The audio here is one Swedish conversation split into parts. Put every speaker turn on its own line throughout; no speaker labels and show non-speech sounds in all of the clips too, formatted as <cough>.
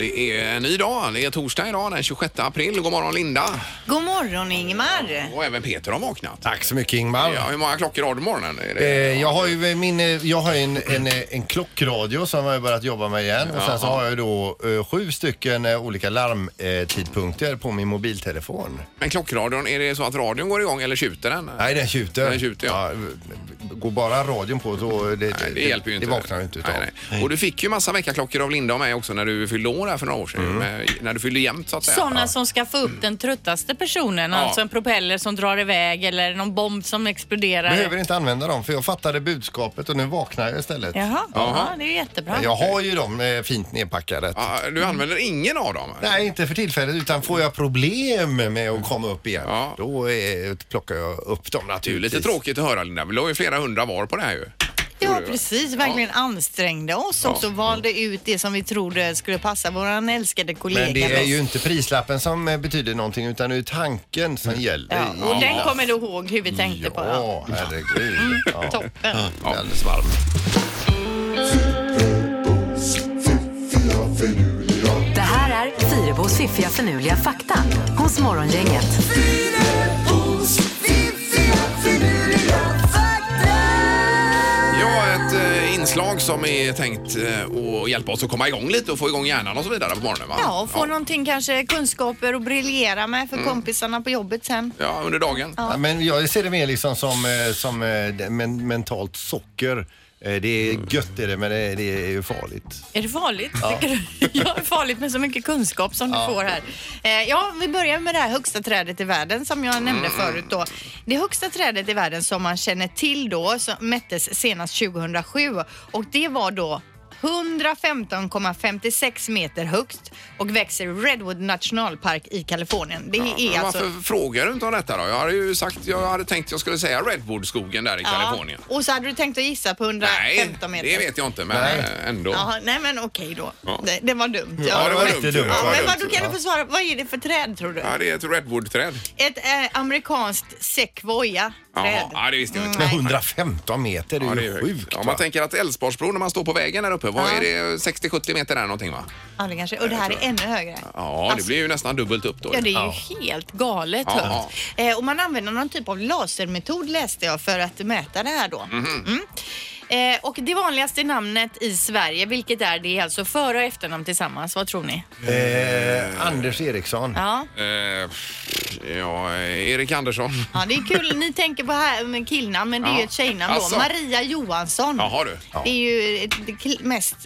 En ny dag. Det är torsdag idag den 26 april. God morgon Linda.
God morgon Ingmar!
Och även Peter har vaknat.
Tack så mycket Ingmar.
Ja, hur många klockor har du på morgonen? Är
Eh,
det-
Jag har ju min, eh, jag har en, en, eh, en klockradio som jag har börjat jobba med igen och sen så har jag ju då eh, sju stycken eh, olika larmtidpunkter eh, på min mobiltelefon.
Men klockradion, är det så att radion går igång eller tjuter den?
Nej den tjuter. eh,
Den tjuter, ja.
Går bara radion på så det,
Nej, det hjälper ju inte.
Det vaknar ju inte utav.
Nej, nej. Och du fick ju massa väckarklockor av Linda och mig också när du fyllde år här för några år
Mm.
sedan. Med- När du fyllde jämnt så att säga.
Sådana som ska få upp den tröttaste personen,
Ja.
alltså en propeller som drar iväg eller någon bomb som exploderar.
Behöver inte använda dem för jag fattade budskapet och nu vaknar jag istället.
Jaha,
Jaha.
Ja, det är ju jättebra.
Jag har ju dem eh, fint nedpackade.
Ja, du använder ingen av dem?
Nej, inte för tillfället utan får jag problem med att komma upp igen
Ja.
då eh, plockar jag upp dem
Det är ju
naturligtvis.
lite tråkigt att höra Linda, men du har ju flera hundra var på det här ju.
Ja precis, verkligen ansträngde oss också och valde ut det som vi trodde skulle passa våran älskade kollega.
Men det är
bäst.
ju inte prislappen som eh, betyder någonting utan det är ju tanken som gäller.
Mm. Ja, och den kommer Mm. du ihåg hur vi tänkte på. Ja.
Ja, herregud. Ja.
Toppen.
Det är alldeles varmt.
Det här är Fyrabos fiffiga förnuliga fakta hos Morgongänget.
Ja, ett eh, inslag som är tänkt eh, att hjälpa oss att komma igång lite och få igång hjärnan och så vidare på morgonen va?
Ja, och få någonting kanske kunskaper att briljera med
Mm.
för kompisarna på jobbet sen.
Ja, under dagen.
Ja, men jag ser det mer liksom som, eh, som eh, det- men, mentalt socker. Eh, Det är
Mm.
gött är det, men det det är ju farligt.
Är det farligt? Tycker du?
<laughs>
Ja, det är farligt med så mycket kunskap som du får här.
Eh, ja, vi börjar med det här högsta trädet i världen som jag
Mm.
nämnde förut då. Det högsta trädet i världen som man känner till då som mättes senast 2007 och det var då 115,56 meter högst och växer i Redwood nationalpark i Kalifornien. Det är
Men
alltså...
Varför frågar du inte om detta då? Jag hade ju sagt, jag hade tänkt jag skulle säga Redwood-skogen där i Kalifornien.
Ja, och så hade du tänkt att gissa på 115
Nej,
meter?
det vet jag inte, men
Nej.
eh, ändå.
Jaha, nej men okej då.
Ja.
Det, det var dumt.
Ja, det var
lite
dumt.
dumt.
Ja,
Ja,
det
men
var
vad,
dumt.
du kan du få svara. Vad är det för träd tror du?
Ja, det är ett Redwood-träd.
Ett eh, amerikanskt sekvoja
Jaha,
träd.
ja, det visste jag inte.
Men 115 meter, det
Ja,
är
det
ju
är
Mm. sjukt.
sjukt. Om
va?
man tänker att Älvsborgsbron, när man står på vägen där uppe, vad
Ja.
är det 60-70 meter där någonting va?
Ja, det kanske. Och det här är ännu högre.
Ja, det blir ju nästan dubbelt upp då.
Alltså- Ja, det är ju
Helt galet
Ja.
högt.
Eh, och man använder någon typ av lasermetod läste jag för att mäta det här då.
Mhm.
Mm. Eh, och det vanligaste namnet i Sverige, vilket är det? Alltså för och efternamn tillsammans, vad tror ni?
eh, Anders Eriksson.
Ja,
Eh, ja, Erik Andersson.
ja det är kul. Ni tänker på här med killnamn, men det är
Ja.
ju ett tjejnamn
Alltså.
då. Maria Johansson.
Jaha du.
Det är ju ett- det kl- mest,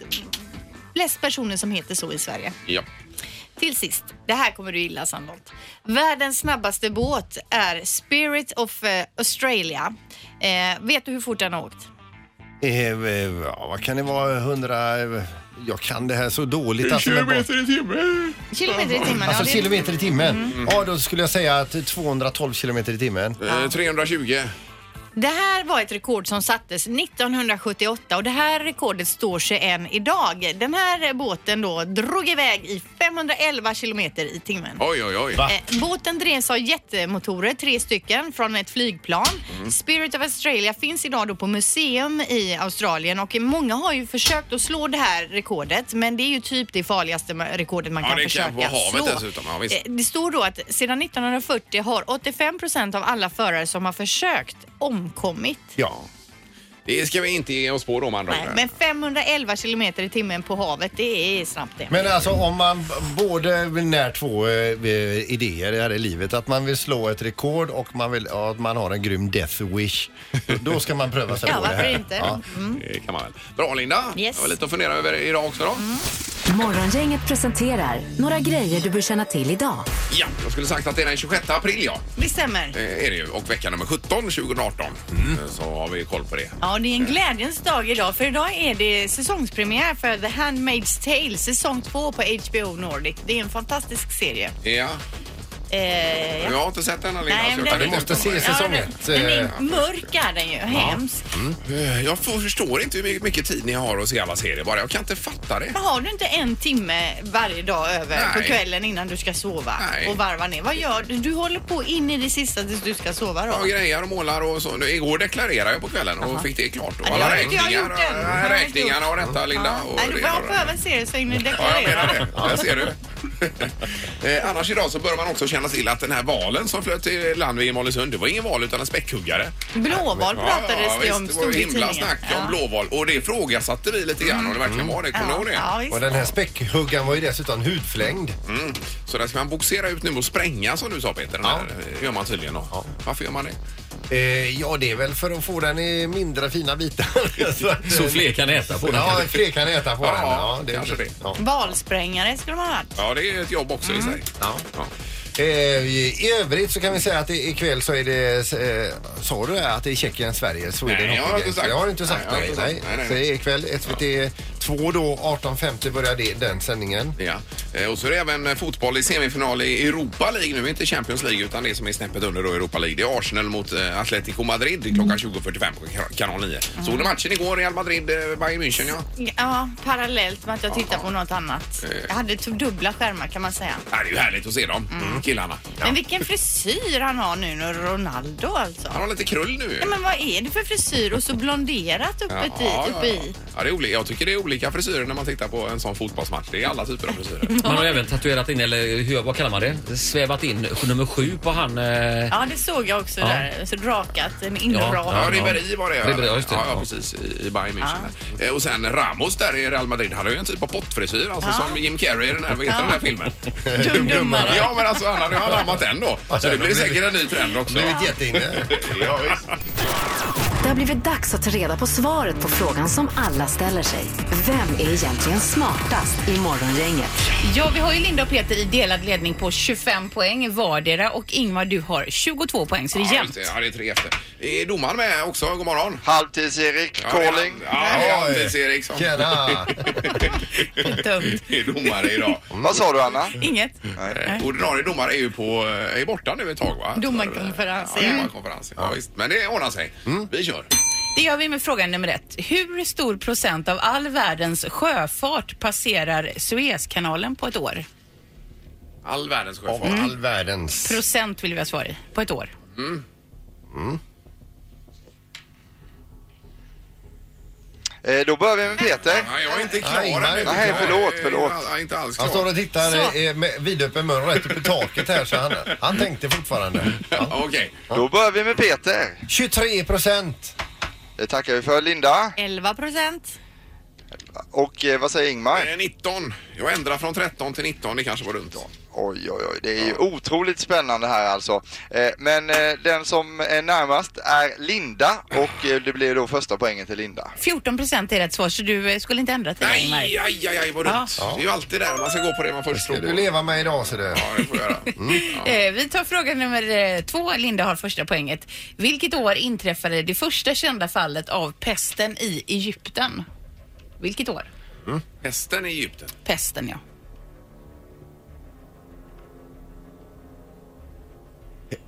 flest personer som heter så i Sverige.
Ja.
Till sist, det här kommer du gilla Sandholt. Världens snabbaste båt är Spirit of eh, Australia. Eh, vet du hur fort den har åkt?
Eh, eh, ja, vad kan det vara? 100... eh, Jag kan det här så dåligt. alltså, men bara-
i timmen.
Kilometer i timmen.
Alltså
ja, det-
kilometer i timmen?
Mm.
Ja, då skulle jag säga att 212 kilometer i timmen.
Eh, 320.
Det här var ett rekord som sattes 1978 och det här rekordet står sig än idag. Den här båten då drog iväg i 511 kilometer i timmen.
Oj, oj, oj.
Va?
Eh, Båten drevs av jetmotorer, tre stycken, från ett flygplan.
Mm.
Spirit of Australia finns idag då på museum i Australien och många har ju försökt att slå det här rekordet men det är ju typ det farligaste ma- rekordet man
Ja,
kan
det kan
försöka
vara havet
slå.
dessutom, ja, visst.
Eh, Det står då att sedan 1940 har 85 procent av alla förare som har försökt omkommit.
Ja.
Det ska vi inte ge oss på då man
Nej, men 511 kilometer i timmen på havet, det är snabbt det.
Men alltså om man b- både vill när två eh, eh, idéer här i livet, att man vill slå ett rekord och man vill, ja, att man har en grym death wish, då ska man pröva sig
Ja,
på det här.
varför inte?
Ja.
Det kan man väl. Bra Linda.
mm. Yes. Mm.
Det var lite att fundera över idag också då.
Morgongänget presenterar några grejer du bör känna till idag.
Ja, jag skulle sagt att det är den 26 april ja.
Det stämmer.
Det är det ju. Och vecka nummer 17 2018.
Mm.
Så har vi koll på det.
Ja, det är en glädjens dag idag för idag är det säsongspremiär för The Handmaid's Tale säsong 2 på HBO Nordic. Det är en fantastisk serie.
Ja.
Eh, ja.
Jag har inte sett den här Linda.
Nej,
så
men
jag kan
den-
inte
Du måste
uttala
se
mig.
säsong
den,
ett.
den
eh,
är mörk är den ju, hemsk.
Mm.
Eh, Jag får- förstår inte hur mycket- mycket tid ni har att se alla serier bara. Jag kan inte fatta det.
Har du inte en timme varje dag över på
Nej.
kvällen innan du ska sova
Nej.
och varva ner? Vad gör du? Du håller på in i det sista tills du ska sova då?
Jag grejar och målar och så. Nu, Igår deklarerade jag på kvällen och fick det klart. Och
Ja, det
alla
har inte jag
räkningar,
gjort än.
äh, räkningarna och detta Linda. Och
Nej, du
det ena
bara
och det
behöver en serie så hinner du
Ja, jag menar
deklarera.
det. Där ser du. <laughs> Eh, Annars idag så bör man också känna till att den här valen som flöt till land vid Malungsund, det var ingen val utan en späckhuggare.
Blåval pratades det om,
visst, det var
stod
ju
i
himla
tidningen.
snack om
Ja. Mm.
blåval och det ifrågasatte vi lite grann om det verkligen var det. Kommer du ihåg det?
Ja, visst.
Och den här späckhuggaren var ju dessutom hudflängd.
Mm. Så den ska man boxera ut nu och spränga som du sa Peter. Den här, eh, gör man tydligen då. Varför gör man det?
Eh, ja, det är väl för att få den i mindre fina bitar. <laughs> så, att,
Så fler kan äta på den.
Ja, fler kan äta på
Ja,
den.
kanske det.
Ja.
Mm.
Valsprängare skulle man ha haft.
Ja, det är ett jobb också
Mm.
i sig.
Ja.
Ja.
Eh, I övrigt så kan vi säga att i- ikväll så är det, eh, sa du att det är Tjeckien, Sverige, Sweden
Nej, jag har
Hockey
inte
Games?
sagt.
Det har du inte sagt.
Nej, jag har
Nej,
inte
nej,
sagt. Nej, nej,
Så
nej.
det är ikväll SVT 2 då, 18.50 börjar det, den sändningen.
Ja. Eh, Och så är det även eh, fotboll i semifinal i Europa League nu, inte Champions League utan det som är snäppet under då Europa League. Det är Arsenal mot eh, Atletico Madrid
Mm.
klockan 20.45 på kan- kanal 9. Såg du matchen igår, Real Madrid, eh, Bayern München ja?
Ja, parallellt med att jag tittar på något annat.
Eh.
Jag hade t- dubbla skärmar kan man säga.
Ja, Det är ju härligt att se dem, killarna.
Mm. Men vilken frisyr han har nu, nu, Ronaldo alltså.
Han har lite krull nu.
Nej, men vad är det för frisyr och så blonderat uppe i? Uppe i.
Ja, det är olika. Jag tycker det är olika frisyrer när man tittar på en sån fotbollsmatch. Det är alla typer av frisyrer.
Man har även tatuerat in, eller hur, vad kallar man det? Svävat in nummer sju på han... Eh,
Ja, det såg jag också där. Så drakat, en
Ja,
Ja,
inrak.
Ribéry var det.
Ribéry, ja, just det.
Ja, ja, precis. I i Bayern München. där. Eh, Och sen Ramos där i Real Madrid hade ju en typ av pottfrisyr, alltså som Jim Carrey i den här, vad heter den här filmen?
Dumdummare.
Ja, men alltså han hade ju anammat den då. Så det blir säkert en ny trend också.
Nu är det jätteinne.
Ja, visst.
Det har blivit dags att ta reda på svaret på frågan som alla ställer sig. Vem är egentligen smartast i Morgongänget?
Ja, vi har ju Linda och Peter i delad ledning på 25 poäng vardera och Ingmar du har 22 poäng så det är
Ja, just
jämnt.
det. Ja, det är tre efter. Är domaren med också? God morgon.
Halvtids-Erik,
Ja, det är
calling.
han. Ja, det är Anders
Oj.
Eriksson.
Tjena!
Dumt.
Det är domare idag.
Vad sa du Anna?
Inget.
Eh, Ordinarie domare är ju på, eh, är borta nu ett tag va?
Domarkonferens,
Ja,
ja.
domarkonferens. Ja, visst. Men det ordnar sig. Vi kör.
Det gör vi med fråga nummer ett. Hur stor procent av all världens sjöfart passerar Suezkanalen på ett år?
All världens
Av
sjöfart.
all världens.
Procent vill vi ha svar i. På ett år.
Eh, då börjar vi med Peter.
Nej, jag är inte klar
Nej, nej.
ännu.
Nej,
Jag är-
förlåt,
jag är
förlåt.
all- Jag är inte alls
Han står
klar.
och tittar eh, med vidöppen mun rätt upp i taket här så han, han tänkte fortfarande. Ja.
Ja, Okej.
Då börjar vi med Peter.
23 procent.
Det tackar vi för Linda.
11 procent.
Och eh, vad säger Ingmar?
Eh, 19. Jag ändrar från 13 till 19. Det kanske var dumt.
Oj, oj, oj. Det är ju otroligt spännande här alltså. Eh, men eh, den som är närmast är Linda och eh, det blir då första poängen till Linda.
14 procent är rätt svar så du eh, skulle inte ändra till det
Nej,
Ingmar.
aj, aj, aj, vad dumt. Det är ju alltid där man ska gå på det man först tror
Ska
på.
du leva med idag ser du.
Ja, det får jag göra.
Eh, Vi tar fråga nummer eh, två. Linda har första poänget. Vilket år inträffade det första kända fallet av pesten i Egypten? Vilket år?
Hästen i Egypten.
Pesten, ja.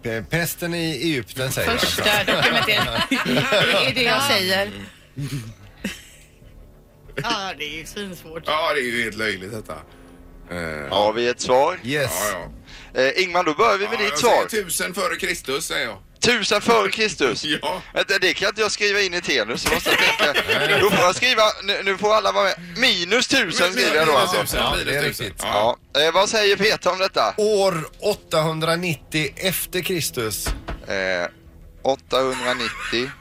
P- Pesten i Egypten säger jag.
Första dokumenterade... det är det jag säger.
Ja, det är ju svinsvårt.
Ja, det är ju helt löjligt detta. Eh,
Har vi ett svar?
Yes.
Ja, ja.
Eh, Ingmar, då börjar vi med
Ja,
ditt
jag
svar.
säger tusen före Kristus, säger jag.
Tusen före Kristus.
<laughs> Ja.
Vänta, det kan inte jag skriva in i Tenus. så Måste jag tänka. Då får jag skriva, nu, nu får alla vara med. Minus tusen skriver jag då
Minus
alltså.
tusen,
Ja,
minus
det är
tusen.
riktigt.
Ja.
Ja. Eh, vad säger Peter om detta?
År 890 efter Kristus.
Eh, 890.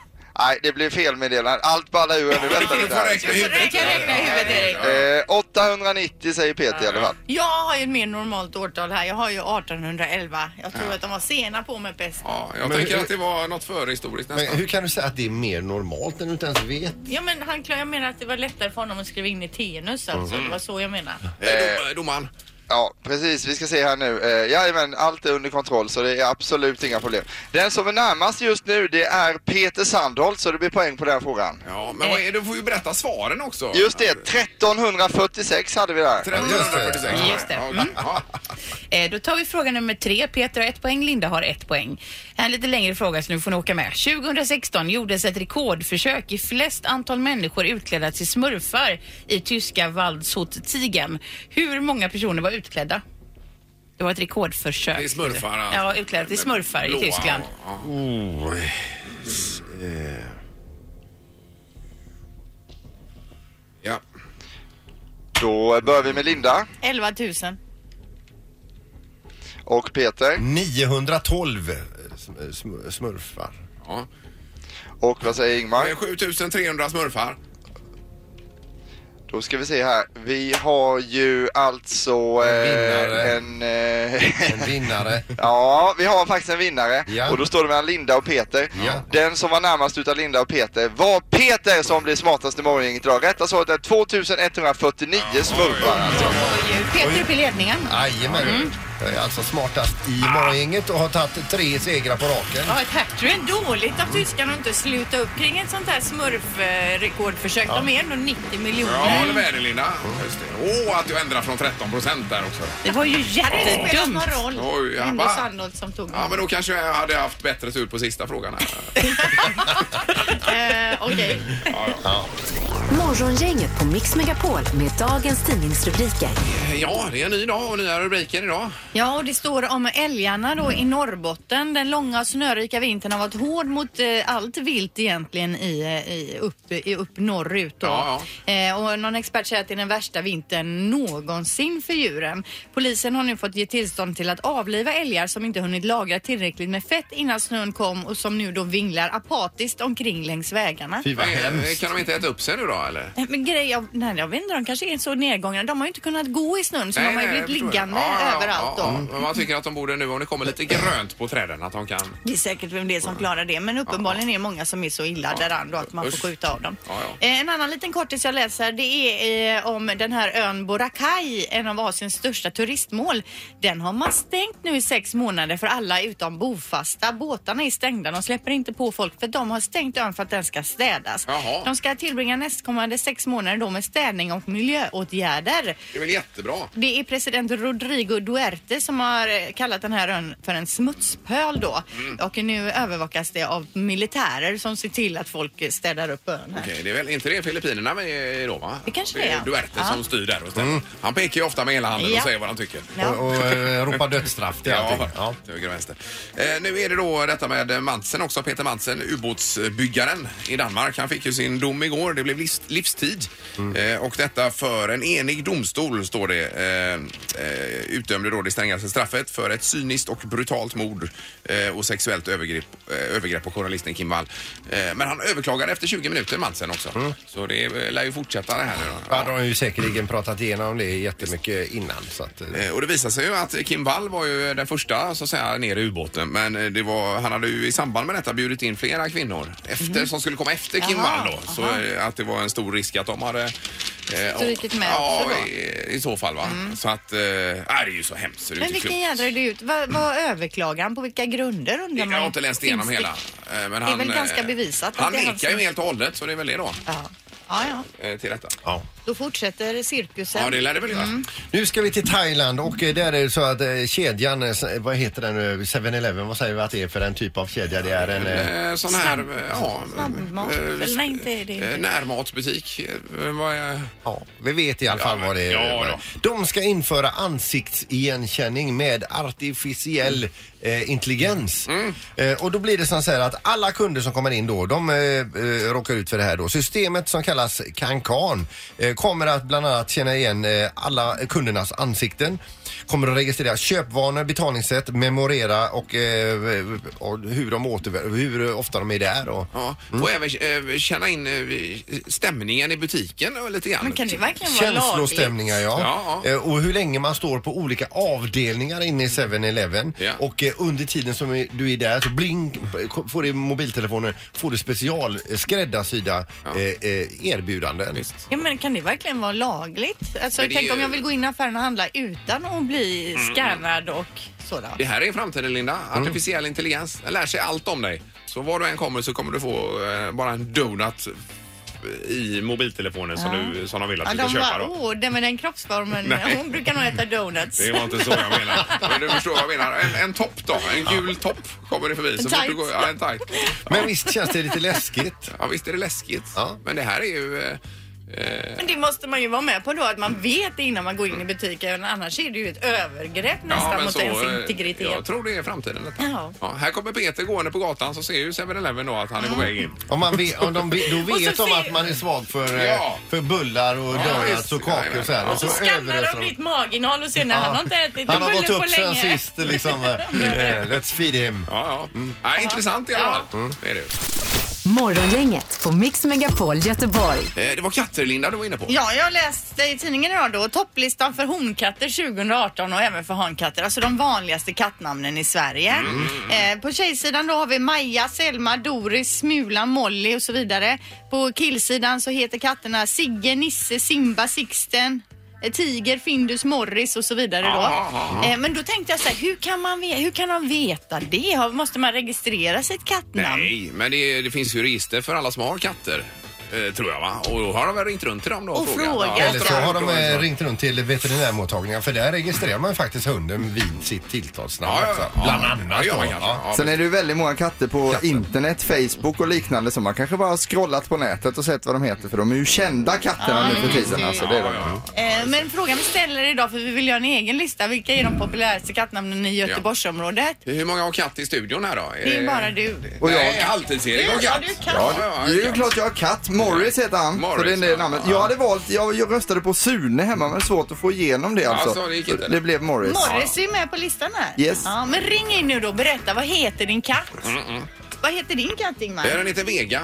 Nej, det blev felmeddelande. Allt ballar ur nu. Vänta
Du
lite
får
här.
räkna i huvudet.
Räkna räkna i huvudet, Erik.
Eh, 890 säger Peter i alla fall.
Jag har ju ett mer normalt årtal här. Jag har ju 1811. Jag tror att de var sena på med pest.
Ja, jag
Men
tänker
hur-
att det var något förhistoriskt
Men
nästan.
hur kan du säga att det är mer normalt när du inte ens vet?
Ja, men han, jag menar att det var lättare för honom att skriva in i Tenus alltså.
Mhm.
Det var så jag menar.
Eh, dom- Domaren.
Ja, precis. Vi ska se här nu. Eh, jajamän, allt är under kontroll så det är absolut inga problem. Den som är närmast just nu det är Peter Sandholt så det blir poäng på den här frågan.
Ja, men vad är, du får ju berätta svaren också.
Just det, 1346 hade vi där.
346.
Just det.
Ja,
Mm.
ja.
Eh, Då tar vi fråga nummer tre. Peter har ett poäng, Linda har ett poäng. Här är En lite längre fråga så nu får ni åka med. 2016 gjordes ett rekordförsök i flest antal människor utklädda till smurfar i tyska Waldshut-tigern. Hur många personer var utklädda? Det var ett rekordförsök.
Det är smurfar. alltså.
Ja, utklädda till smurfar i
Blåa,
Tyskland.
ja. Ja.
Då börjar vi med Linda.
11 000.
Och Peter?
912 eh, sm- sm- smurfar.
Ja.
Och vad säger Ingmar?
Eh, 7300 smurfar.
Då ska vi se här. Vi har ju alltså eh, en... Eh, <laughs>
En vinnare.
Ja, vi har faktiskt en vinnare.
Ja.
Och då står det mellan Linda och Peter.
Ja.
Den som var närmast utav Linda och Peter var Peter som blev smartast i morgongänget idag. Rätta svaret är 2149 smurfar alltså.
Peter upp i ledningen.
Jajamän. Jag är alltså smartast i morgongänget och har tagit tre segrar på raken.
Ja, ett hattrick. Men dåligt av tyskarna att inte sluta upp kring ett sånt här smurfrekordförsök. De är ändå 90
Ja,
miljoner.
håller med dig Linda. Just det. Åh, att jag ändrar från 13 procent där också.
Det var ju
Det spelar
jättedumt.
någon roll.
Oj, ja,
Ändå
va?
Sandholt som tog
Ja,
den.
men då kanske jag hade haft bättre tur på sista frågan
<laughs>
här.
Eh, Okej.
Morgongänget på Mix Megapol med dagens tidningsrubriker.
Ja, det är en ny dag och nya rubriker idag.
Ja, och det står om älgarna då i Norrbotten. Den långa och snörika vintern har varit hård mot eh, allt vilt egentligen i, eh, i, upp, i, upp norrut. Då.
Ja,
Eh, och någon expert säger att det är den värsta vintern någonsin för djuren. Polisen har nu fått ge tillstånd till att avliva älgar som inte hunnit lagra tillräckligt med fett innan snön kom och som nu då vinglar apatiskt omkring längs vägarna.
Fy vad
Eh,
hemskt.
Kan de inte äta upp sig nu då eller?
Nej, Men grej, jag, nej, jag vet inte, de kanske är så nedgångna. De har ju inte kunnat gå i snön så
Nej,
de har ju
nej,
blivit
jag förstår.
liggande
Ja, ja, ja,
överallt då.
ja, ja. Men man tycker att de borde nu, om det kommer lite grönt på träden, att de kan...
Det är säkert vem det är som klarar det men uppenbarligen är det många som är så illa däran då att man får
Usch.
skjuta av dem.
Ja, ja.
Eh, En annan liten kortis jag läser det är eh, om den här ön Boracay, en av Asiens största turistmål. Den har man stängt nu i sex månader för alla utom bofasta. Båtarna är stängda, de släpper inte på folk för de har stängt ön för att den ska städas.
Jaha.
De ska tillbringa nästkommande sex månader då med städning och miljöåtgärder.
Det är väl jättebra?
Det är president Rodrigo Duterte som har eh, kallat den här ön för en smutspöl då.
Mm.
Och nu övervakas det av militärer som ser till att folk eh, städar upp ön här.
Okej, det är väl inte det Filippinerna vi är då va?
Det kanske
det
det
är.
är.
Duerte
Ja. Mm.
som styr där och ställer. Han pekar ju ofta med hela handen och
Ja.
säger vad han tycker.
Ja.
Och, och eh, ropa dödsstraff till allting.
Ja,
Ja.
höger och vänster. Eh, nu är det då detta med Mansen också, Peter Mansen, ubåtsbyggaren i Danmark. Han fick ju sin dom igår, det blev livs- livstid.
Mm.
Eh, och detta för en enig domstol, står det, eh, eh, utdömde då det strängaste straffet för ett cyniskt och brutalt mord eh, och sexuellt övergrepp, eh, övergrepp på journalisten Kim Wall. Eh, men han överklagade efter 20 minuter, Mansen också. Så det eh, lär ju fortsätta det här nu då.
Mm. Ja, de har ju säkerligen pratat igenom det jättemycket innan. Så att, eh,
Eh, Och det visade sig ju att Kim Wall var ju den första så att säga ner i ubåten. Men eh, det var, han hade ju i samband med detta bjudit in flera kvinnor efter, som skulle komma efter Kim
Mhm. Jaha,
Wall då. Så eh, att det var en stor risk att de hade eh,
Strykit med
Ja,
också då? Mm.
i, i så fall va. Så att, eh, nej, det är ju så hemskt. så det är
Men
inte
vilken
klokt.
jädra är det ut? Vad, vad överklagar han? På vilka grunder undrar man?
Jag har inte läst igenom
Finns det-
hela. eh, Men
är väl ganska bevisat att
Han
det är
nekar ju
hans-
helt och hållet så det är väl det då.
Ja. Ja, ja.
eh, Till detta.
ja.
Då fortsätter cirkusen.
Ja, det lär det väl göra.
Mm.
Nu ska vi till Thailand och eh, där är det så att eh, kedjan, eh, vad heter den nu, 7-Eleven, vad säger vi att det är för en typ av kedja? Det är en... eh,
Eh, Sån här... eh, Ja,
Snabbmat?
eh,
Eller nej, inte är det.
eh, Närmatsbutik. Eh, Vad är...
Ja, vi vet i alla fall
Ja,
vad det är.
ja då.
De ska införa ansiktsigenkänning med artificiell eh, intelligens.
Mm.
Eh, och då blir det som så här att alla kunder som kommer in då, de eh, eh, råkar ut för det här då. Systemet som kallas Kankan eh, kommer att bland annat känna igen eh, alla kundernas ansikten, kommer att registrera köpvanor, betalningssätt, memorera och, eh, och hur de återvänder, hur ofta de är där. Och,
Ja, och även eh, känna in eh, stämningen i butiken och lite grann.
Men kan det verkligen vara lagligt?
Känslostämningar ja.
Ja, ja.
Eh, Och hur länge man står på olika avdelningar inne i 7-Eleven.
Ja.
Och eh, under tiden som du är där så bling, får du i mobiltelefonen, får du special eh, skräddarsydda eh, eh, erbjudanden.
Ja, men kan det verkligen vara lagligt? Alltså,
Men det är
tänk om
ju- Mm.
jag vill gå in i affären och handla utan att bli skannad och sådär.
Det här är framtiden Linda. Artificiell intelligens. Den lär sig allt om dig. Så var du än kommer så kommer du få eh, bara en donut eh, i mobiltelefonen som, du, som de vill att
Ja,
du ska
de
köpa.
bara,
Då.
åh, den med den kroppsformen,
Nej.
<laughs> hon brukar nog äta donuts.
Det var inte så jag
<laughs>
menade. Men du förstår vad jag menar. En, en topp då. En gul topp kommer det förbi. Så
En
fort du
tight.
går, ja, en tight.
Men visst känns det lite läskigt?
Ja, visst är det läskigt.
Ja.
Men det här är ju... eh,
Men det måste man ju vara med på då, att man vet innan man går in i butiken. Annars är det ju ett övergrepp nästan
men
mot
så,
ens
eh,
integritet.
Jag tror det är framtiden detta.
Ja.
här kommer Peter gående på gatan så ser ju 7-Eleven då att han är på väg in.
Om man vet, om de, vet-
<laughs>
då
Och så
vet de
ser-
att man är svag för, eh,
Ja.
för bullar och
Ja,
donuts
visst.
och kakor och så här.
Ja,
Och så
Så skannar
överöser
de
de.
ditt maginnehåll och ser när han har inte ätit
Han har
bullen
gått
på
upp sen
länge.
sist
<laughs>
liksom. eh, eh, Let's feed him.
Ja, ja. Ja, Intressant i alla fall. Mm. Det, är det.
Morgongänget på Mix Megapol Göteborg.
ju. Eh, det var katter Linda du var inne på.
Ja, jag läste i tidningen idag då topplistan för honkatter 2018 och även för hankatter, alltså de vanligaste kattnamnen i Sverige.
Mm.
Eh, på tjejsidan då har vi Maja, Selma, Doris, Smula, Molly och så vidare. På killsidan så heter katterna Sigge, Nisse, Simba, Sixten, eh, Tiger, Findus, Morris och så vidare då.
Aha.
Eh, men då tänkte jag så här, hur kan man, ve- hur kan man veta det? Har- Måste man registrera sitt kattnamn?
Nej, men det, det finns ju register för alla som har katter. Eh, tror jag va? Och då har de väl ringt runt till dem då
Och frågat.
Ja,
Eller så har de eh,
frågat.
ringt runt till veterinärmottagningar för där registrerar man faktiskt hunden vid sitt
Ja,
tilltalsnamn
ja,
också.
ja.
Bland
Ja,
annat
ja,
då.
ja,
Ja.
ja.
Sen är det ju väldigt många katter på internet, Facebook och liknande som man kanske bara har scrollat på nätet och sett vad de heter för de är ju kända katterna nu för tiden alltså. Det är de.
Ja, ja.
Eh, Men frågan vi ställer idag, för vi vill göra en egen lista. Vilka är de populäraste kattnamnen i Göteborgsområdet?
Hur många har katt i studion här då? Eh,
Det är bara du.
Och jag.
Nej, alltid ser
Ja,
jag
ja,
katt.
du är katt.
Ja, det är
jag
ju klart jag har katt. Morris heter han.
Morris,
så det är det
ja.
namnet.
Ja.
Jag hade valt, jag, jag röstade på Sune hemma men svårt att få igenom det alltså.
Alltså, det gick inte, eller?
det blev Morris.
Morris är ju med på listan här.
Yes.
Ja, men ring in nu då och berätta, vad heter din katt? Vad heter din katt Ingmar?
Mm, Eh, Den heter Vega.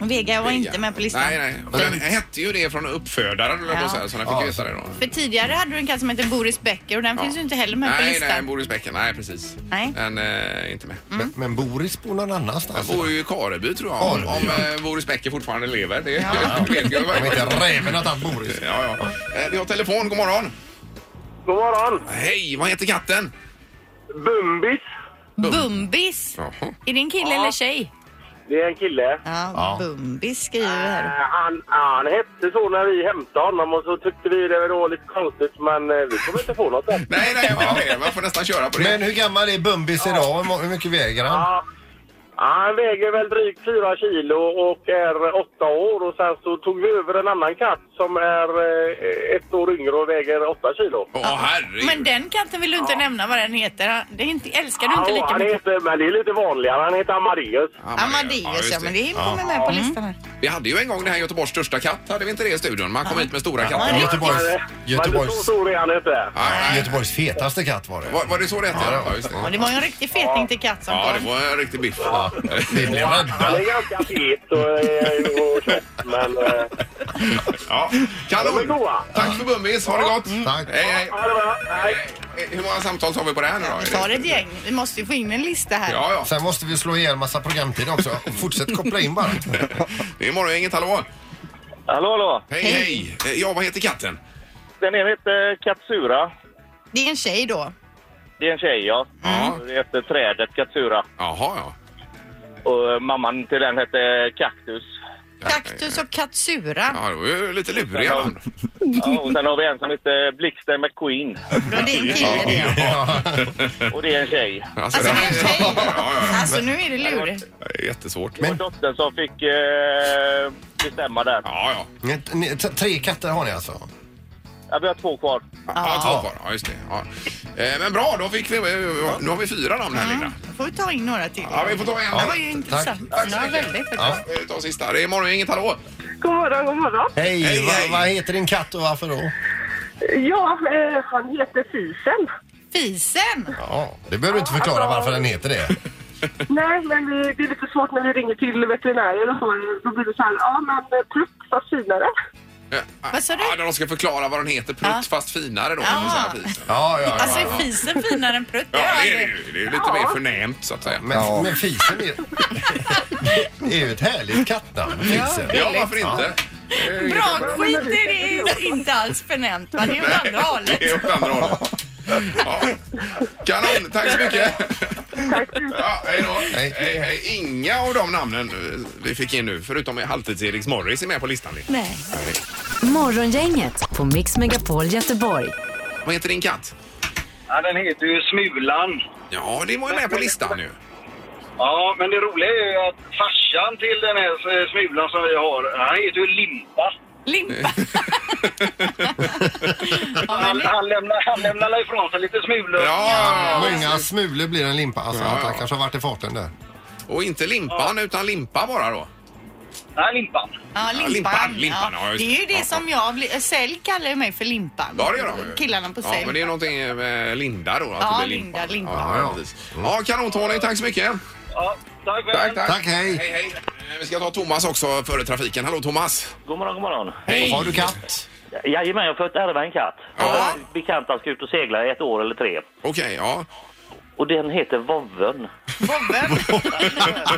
Vega var inte med på listan.
Nej, nej. Och den hette ju det från uppfödaren, eller
Ja.
ja. så, här, så den fick
Ja.
veta det då.
För tidigare hade du en katt som hette Boris Becker och den finns ju inte heller med på
nej,
listan.
nej, Boris Becker. Nej, precis.
Nej.
Den eh, är inte med.
Men, men Boris bor någon
Jag
annanstans.
bor ju i Alltså. Kareby tror jag, om, om eh, Boris Becker fortfarande lever. <laughs> Det vet jag
Om inte
verkligen.
räven har tagit Boris.
Ja, ja. Eh, Vi har telefon, god morgon.
God morgon!
Hej, vad heter katten?
Bumbis.
Bumbis.
Jaha.
Är det en kille eller tjej?
Det är en kille.
Ja,
Ja.
Bumbis skriver vi
Eh,
här.
Han, han hette så när vi hämtade honom och så tyckte vi det var lite konstigt men eh, vi kommer inte få något än.
Nej, nej, men det är det. Man får nästan köra på det.
Men hur gammal är Bumbis idag? Hur må- Hur mycket väger han?
Ja, han väger väl drygt fyra kilo och är åtta år och sen så tog vi över en annan katt som är eh, ett år yngre och väger åtta kilo.
Åh, herregud.
Men den katten vill du inte nämna vad den heter. Det är inte, älskar du inte
Ja,
lika
han
mycket?
heter, men det är lite vanligare. Han heter Amadeus.
Ja,
Amadeus,
just
ja,
det.
men det kommer med
Mm.
på listan här.
Vi hade ju en gång det här Göteborgs största katt, hade vi inte det i studion? Man kom hit med stora katter.
Ja, Göteborgs,
Men, eh, Men så
Göteborgs,
stor är han inte.
Nej, nej.
Göteborgs fetaste katt var det.
Var, var det så det hette? Ja, just
Ja,
det.
det var ju en riktig feting till katt som
Ja,
kom.
det var en riktig biff.
Det blev han.
Han är ganska fet och, eh, och tjock men... eh,
<laughs> Ja,
De är
kanon.
goda.
Tack för Bummis, ha det gott.
Tack.
Hej, hej.
Ja, det var... Nej.
Eh, Hur många samtal tar vi på det här nu då?
Vi tar ett gäng. Vi måste ju få in en lista här.
Ja, ja.
Sen måste vi slå ihjäl massa programtid också. Fortsätt koppla in bara.
Det är morgon, inget hallå.
Hallå, hallå.
Hej, hej. Eh, Ja, vad heter katten?
Den ena heter Katsura.
Det är en tjej då.
Det är en tjej, ja.
Ja.
Det heter trädet Katsura.
Jaha, ja.
Och eh, mamman till den hette Kaktus.
Kaktus och katsura.
Ja, det var ju lite luriga namn.
Ja, och sen har vi en som heter Blixten McQueen.
Då är det en kille det.
Ja.
Och det är en tjej.
Alltså,
det är en tjej.
Ja, ja,
Alltså nu är det lurigt.
ja. Det är Jättesvårt.
Det var dottern som fick eh, bestämma där.
Ja, ja.
Ni- ni- t- Tre katter har ni alltså?
Ja, vi har två kvar.
Ja, två kvar. Ja, just det. Ja. Eh, Men bra, då fick vi... eh, Nu har vi fyra namn här, Linda.
Då får vi ta in några till.
Ja, vi får ta en.
Det var ju intressant.
Tack så
Ja,
mycket.
väldigt.
Ja, vi tar sista. Det är morgon, inget hallå.
God morgon, god morgon.
Hej,
Hej,
va-
hej.
vad heter din katt och varför då?
Ja, eh, han heter Fisen.
Fisen!
Ja, det behöver du inte förklara varför den heter det.
Nej, men vi, det är lite svårt när vi ringer till veterinärer och så. Då blir det så här, ja men eh, plutt fast finare.
Eh,
Vad sa du?
Ja, de ska förklara vad den heter, Prutt,
Ja.
fast finare då.
Ja.
så här fint.
Ja, ja,
Alltså är fisen finare än prutt?
Ja, det är det
aldrig-
ju. Det är ju lite
Ja.
mer förnämt, så att säga.
Men,
Ja.
men fisen är, det är ju ett härligt kattnamn, fisen.
Ja, varför inte?
Bra, skit i det. det. är Inte alls förnämt. va? Det är åt andra hållet.
Det är åt andra hållet. Ja. Kanon, tack så mycket.
Tack så mycket.
Ja, hej då.
Hej.
Hej, hej. Inga av de namnen eh, vi fick in nu, förutom halvtids-Eriks Morris, är med på listan. Lin.
Nej.
Morgongänget på Mix Megapol Göteborg.
Vad heter din katt?
Ja, den heter ju Smulan.
Ja, det var ju med på listan
<laughs>
nu.
Ja, men det roliga är ju att farsan till den här eh, Smulan som vi har, han heter ju Limpa.
<laughs>
Limpa. ja, men
Han,
det-
han lämnar, han lämnar ifrån sig lite smulor.
Ja,
Många smulor blir en limpa. Alltså,
Ja,
han
ja.
kanske har varit i farten där.
och inte limpan utan limpa bara då.
Nej, limpan.
Ja,
Ja,
limpan.
limpan, limpan, ja, just
det är
det.
ju det
Ja.
som jag blir... Sälj kallar ju mig för limpan.
Ja, det gör de ju.
Killarna på
Ja,
sälj.
men det är någonting med Linda då. Att
Ja,
det blir limpa.
Linda, limpa.
Ja, ja. precis.
Mm.
ja kanon Tony. Tack så mycket.
Ja, tack väl.
Tack, tack.
Tack, hej!
Hej, hej. Eh, Vi ska ta Thomas också före trafiken. Hallå Thomas!
God morgon, god morgon.
Hej!
Har du katt?
Jajamän, jag har fått ärva en katt.
Ja.
Bekanta ska ut och segla i ett år eller tre.
Okej, ja.
Och den heter Vovven.
Mm.
Bobben. ja,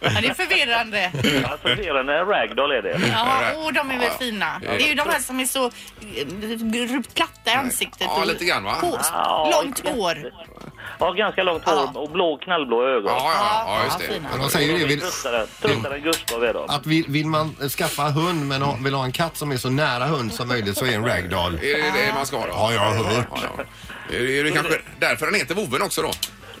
det är förvirrande.
Alltså, det är en ragdoll är det.
Ja, åh, de är väl fina.
Ja.
Det är ju de här som är så eh, platta i ansiktet.
Ja,
och
lite grann, va?
på-
Ja,
Långt hår.
Ja, ganska långt hår
Ja.
och blå, knallblå ögon.
Ja, ja, ja, just
Ja, fina.
det.
Men de säger ju det. Vill,
Tröttare än Gustav är de.
att vill, vill man skaffa hund men ha, vill ha en katt som är så nära hund som möjligt så är en ragdoll.
Är det det man ska ha då?
Ja, jag har hört.
Ja, ja. Är det, är det kanske därför den heter Woven också då?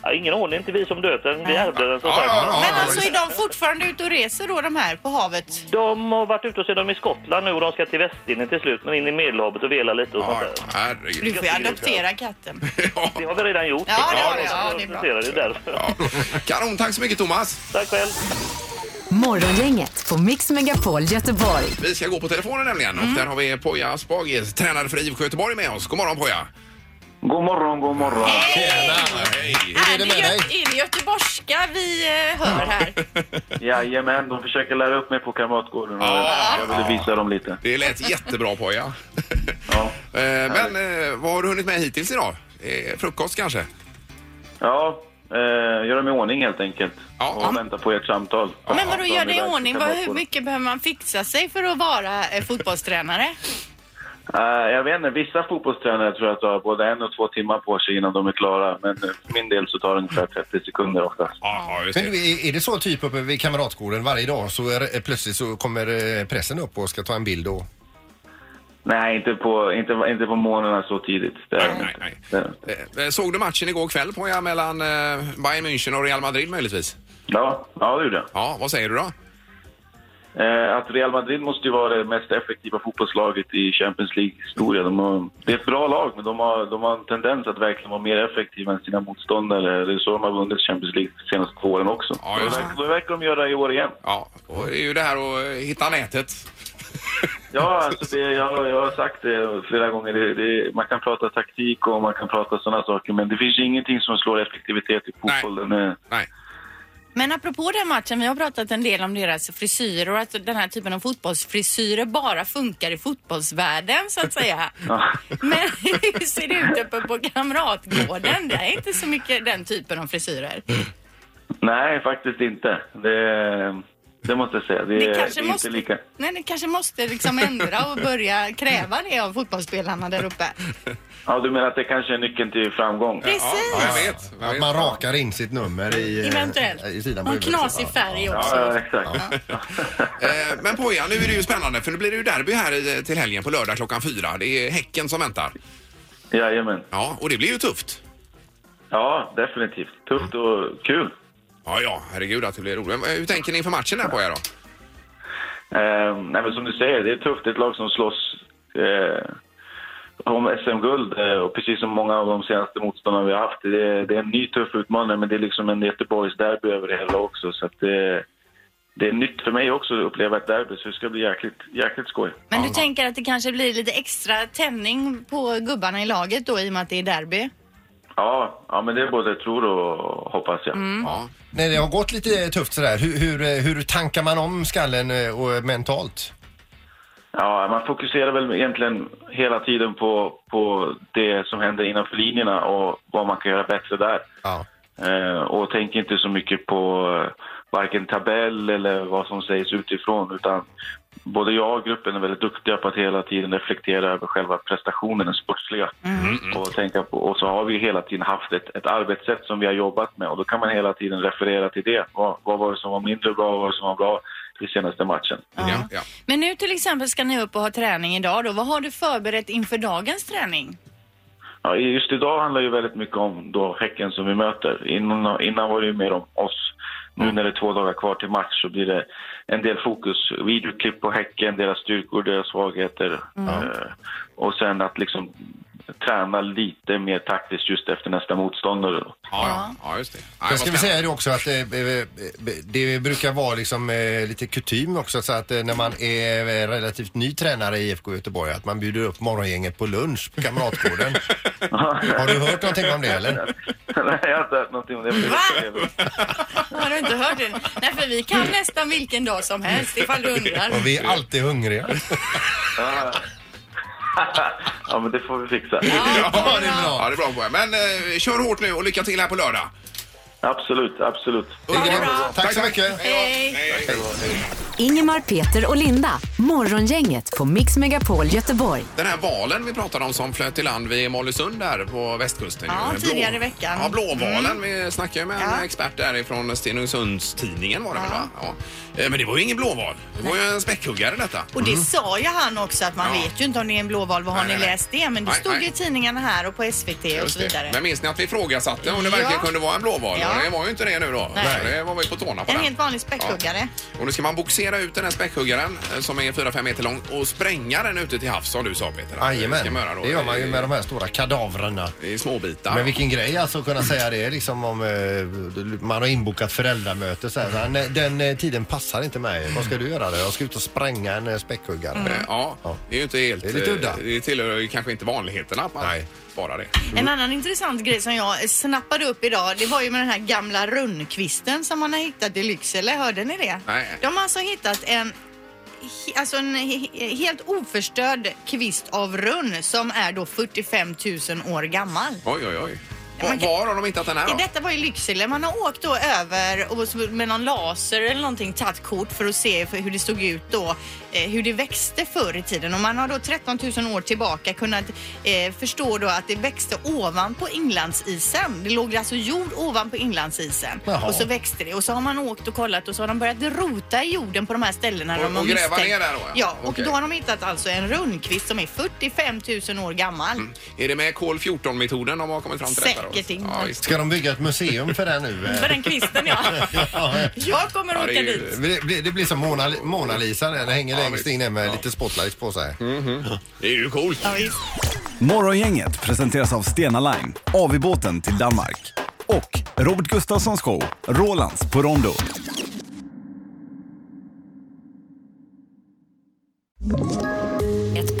Ja, ingen aning, inte vi som döpte den. Vi ärvde den som
Ja,
sagt.
ja,
Men
ja.
alltså är de fortfarande ute och reser då de här på havet?
De har varit ute och så är de i Skottland nu och de ska till Västindien till slut, men in i Medelhavet och vela lite och sånt
ja
där.
Du
herregud.
får ju adoptera katten.
<laughs> Ja.
Det har vi redan gjort.
Ja, det har vi. Ja, det är bra.
det är därför.
Ja. Kanon, tack så mycket Thomas!
<laughs> Tack själv.
Morgongänget på Mix Megapol Göteborg.
Vi ska gå på telefonen nämligen
Mm.
och där har vi Poja Asbaghi, tränare för IFK Göteborg med oss. God morgon Poja!
God morgon, god morgon.
Hej!
Hur är det med dig?
Gö- är det göteborgska vi eh, hör här?
Jajamän, de försöker lära upp mig på Kamratgården och
Ja.
jag ville visa dem lite.
Det lät jättebra Poja.
Ja.
Eh, Men eh, vad har du hunnit med hittills idag? Eh, Frukost kanske?
Ja, eh, gör dem i ordning helt enkelt.
Ja.
Och vänta på ert samtal.
Men vadå,
Ja,
gör det i
de är
ordning?
där.
Vad, hur mycket behöver man fixa sig för att vara eh, fotbollstränare?
Eh, jag vet inte, vissa fotbollstränare tror jag tar både en och två timmar på sig innan de är klara. Men eh, för min del så tar det ungefär 30 sekunder oftast.
Ja, just
Men du, är, är det så typ uppe vid Kamratgården varje dag så är, det- plötsligt så kommer eh, pressen upp och ska ta en bild och...
Nej, inte på, inte, inte på morgnarna så tidigt. Det är det
Nej,
inte.
nej,
Det är det inte.
nej. Eh, Såg du matchen igår kväll Poja mellan eh, Bayern München och Real Madrid möjligtvis?
Ja, ja, det gjorde jag.
Ja, vad säger du då?
Eh, att Real Madrid måste ju vara det mest effektiva fotbollslaget i Champions League-historia. De har, det är ett bra lag, men de har, de har en tendens att verkligen vara mer effektiva än sina motståndare. Det är så de har vunnit Champions League de senaste två åren också.
Ja,
det
just det.
verkar, då verkar de göra i år igen.
Ja, och det är ju det här att eh, hitta nätet.
Ja, alltså det, jag, jag har sagt det flera gånger. Det, det, man kan prata taktik och man kan prata sådana saker, men det finns ju ingenting som slår effektivitet i fotbollen. eh.
Nej.
Men apropå den matchen, vi har pratat en del om deras frisyrer och att den här typen av fotbollsfrisyrer bara funkar i fotbollsvärlden så att
<laughs>
säga. Men hur ser det ut uppe på Kamratgården? Det är inte så mycket den typen av frisyrer.
Nej, faktiskt inte. Det, det måste jag säga. Det,
Det
är
kanske
inte
måste,
lika...
nej, det kanske måste liksom ändra och börja kräva det av fotbollsspelarna där uppe.
Ja, du menar att det kanske är nyckeln till framgång?
Precis!
Ja, jag vet. Jag
Att
vet.
man rakar in sitt nummer i... eh,
Eventuellt.
I sidan på
Någon
huvudet.
knasig färg
Ja,
också.
ja, exakt.
Eh, Men Poja, nu är det ju spännande för nu blir det ju derby här i- eh, till helgen på lördag klockan fyra. Det är Häcken som väntar.
<laughs> Jajamän.
Ja, och det blir ju tufft.
Ja, definitivt. Tufft och kul.
Ja, ja, herregud att det blir roligt. Men eh, Hur tänker ni inför matchen här Poja då?
Eh, nej, men som du säger, det är tufft. Det är ett lag som slåss eh, om SM-guld. Eh, och precis som många av de senaste motståndarna vi har haft. Det är, det är en ny tuff utmanare, men det är liksom en Göteborgsderby över det hela också. Så att det, det är nytt för mig också att uppleva ett derby, så det ska bli jäkligt, jäkligt skoj.
Men du tänker att det kanske blir lite extra tändning på gubbarna i laget då i och med att det är derby?
Ja, ja men det är både tror och hoppas jag.
Ja.
När det har gått lite eh, tufft sådär, hur, hur, eh, hur tankar man om skallen eh, och eh, mentalt?
Ja, man fokuserar väl egentligen hela tiden på, på det som händer innanför linjerna och vad man kan göra bättre där.
Ja.
Eh, och tänker inte så mycket på eh, varken tabell eller vad som sägs utifrån utan både jag och gruppen är väldigt duktiga på att hela tiden reflektera över själva prestationen, den sportsliga. Och, tänka på, och så har vi hela tiden haft ett, ett arbetssätt som vi har jobbat med och då kan man hela tiden referera till det. Vad, vad var det som var mindre bra vad var det som var bra i senaste matchen?
Ja, ja.
Men nu till exempel ska ni upp och ha träning idag då. Vad har du förberett inför dagens träning?
Ja, just idag handlar ju väldigt mycket om då Häcken som vi möter. Innan, innan var det ju mer om oss. Nu när det är två dagar kvar till match så blir det en del fokus, videoklipp på Häcken, deras styrkor, deras svagheter. Eh, och sen att liksom träna lite mer taktiskt just efter nästa motståndare.
Ja, ja just det. Ja,
Jag ska väl säga det också att eh, eh, det brukar vara liksom eh, lite kutym också så att eh, när man är eh, relativt ny tränare i IFK Göteborg att man bjuder upp morgongänget på lunch
<laughs>
på Kamratgården. Har du hört någonting om det eller?
<laughs> Nej, jag har inte hört någonting om det.
Har du inte hört det? Nej, för vi kan nästan vilken dag som helst ifall du undrar.
Och vi är alltid hungriga.
<laughs> Ja, men det får vi fixa.
Ja, det är bra. Ja, det är bra Bojan. Men eh, kör hårt nu och lycka till här på lördag.
Absolut, absolut.
Tack så mycket.
Ingemar, Peter och Linda. Morgongänget på Mix Megapol Göteborg.
Den här valen vi pratade om som flöt i land vid Mollösund där på västkusten.
Ja,
Blå-
tidigare i veckan. Mm.
Ja, blåvalen. Vi snackade ju med en expert därifrån Stenungsundstidningen var det väl va? Ja. Eh, Men det var ju ingen blåval. Det var ju en späckhuggare detta.
Och det sa ju han också att man
Ja.
vet ju inte om det är en blåval. Vad har
Nej,
ni
nej, nej.
läst det? Men det
Nej,
stod ju
nej.
i tidningarna här och på SVT och
Just
så
det.
vidare.
Men minns ni att vi ifrågasatte om det
Ja.
verkligen kunde vara en blåval?
Ja.
Och Det var ju inte det nu då.
Nej.
Så Det var vi på tårna på
En
den.
helt vanlig späckhuggare.
Och nu ska man boxera ut den här späckhuggaren eh, som är 4-5 meter lång och spränga den ute till havs som du sa Peter. Ska
Jajamän,
man göra då.
det gör man ju
I-
med de här stora kadavrarna.
I småbitar.
Men vilken grej alltså att kunna säga det liksom om eh, man har inbokat föräldramöte så här. så här, "Nej, Den eh, tiden passar inte mig. Vad ska du göra då? Jag ska ut och spränga en eh, späckhuggare.
Eh, Ja, det är ju inte helt...
Det är lite
eh,
udda.
Det tillhör ju kanske inte vanligheterna att man
Nej.
sparar det.
En annan intressant grej som jag snappade upp idag, det var ju med den här gamla runnkvisten som man har hittat i Lycksele. Hörde ni det?
Nej.
De har alltså hittat en he- Alltså en he- he- helt oförstörd kvist av runn som är då 45 000 år gammal.
Oj, oj, oj.
Ja, men-
Var, var har de hittat den här
Ja.
då?
Detta var i Lycksele. Man har åkt då över och så med någon laser eller någonting tagit kort för att se för hur det såg ut då, eh, hur det växte förr i tiden. Och man har då 13 000 år tillbaka kunnat eh, förstå då att det växte ovanpå inlandsisen. Det låg alltså jord ovanpå inlandsisen
Jaha.
och så växte det. Och så har man åkt och kollat och så har de börjat rota i jorden på de här ställena.
Och-
de har
och gräva
misstänkt.
ner där då, ja.
Ja, och
Okej.
då har de hittat alltså en rundkvist som är 45 000 år gammal.
Är det med kol 14 metoden de har kommit fram till
Säkert
detta då?
inte.
Ja, visst.
Ska de bygga ett museum för det nu? eh?
För den kvisten ja. Jag
<laughs>
kommer
Ja,
åka
det är ju-
dit.
Det blir, det blir som Mona, Mona Lisa, den hänger
Ja, Mm.
längst
visst.
inne med lite spotlights på sig.
Det är ju coolt.
Ja, visst.
Morgongänget presenteras av Stena Line, AV-båten till Danmark och Robert Gustafssons show Rolands på Rondo.
Ett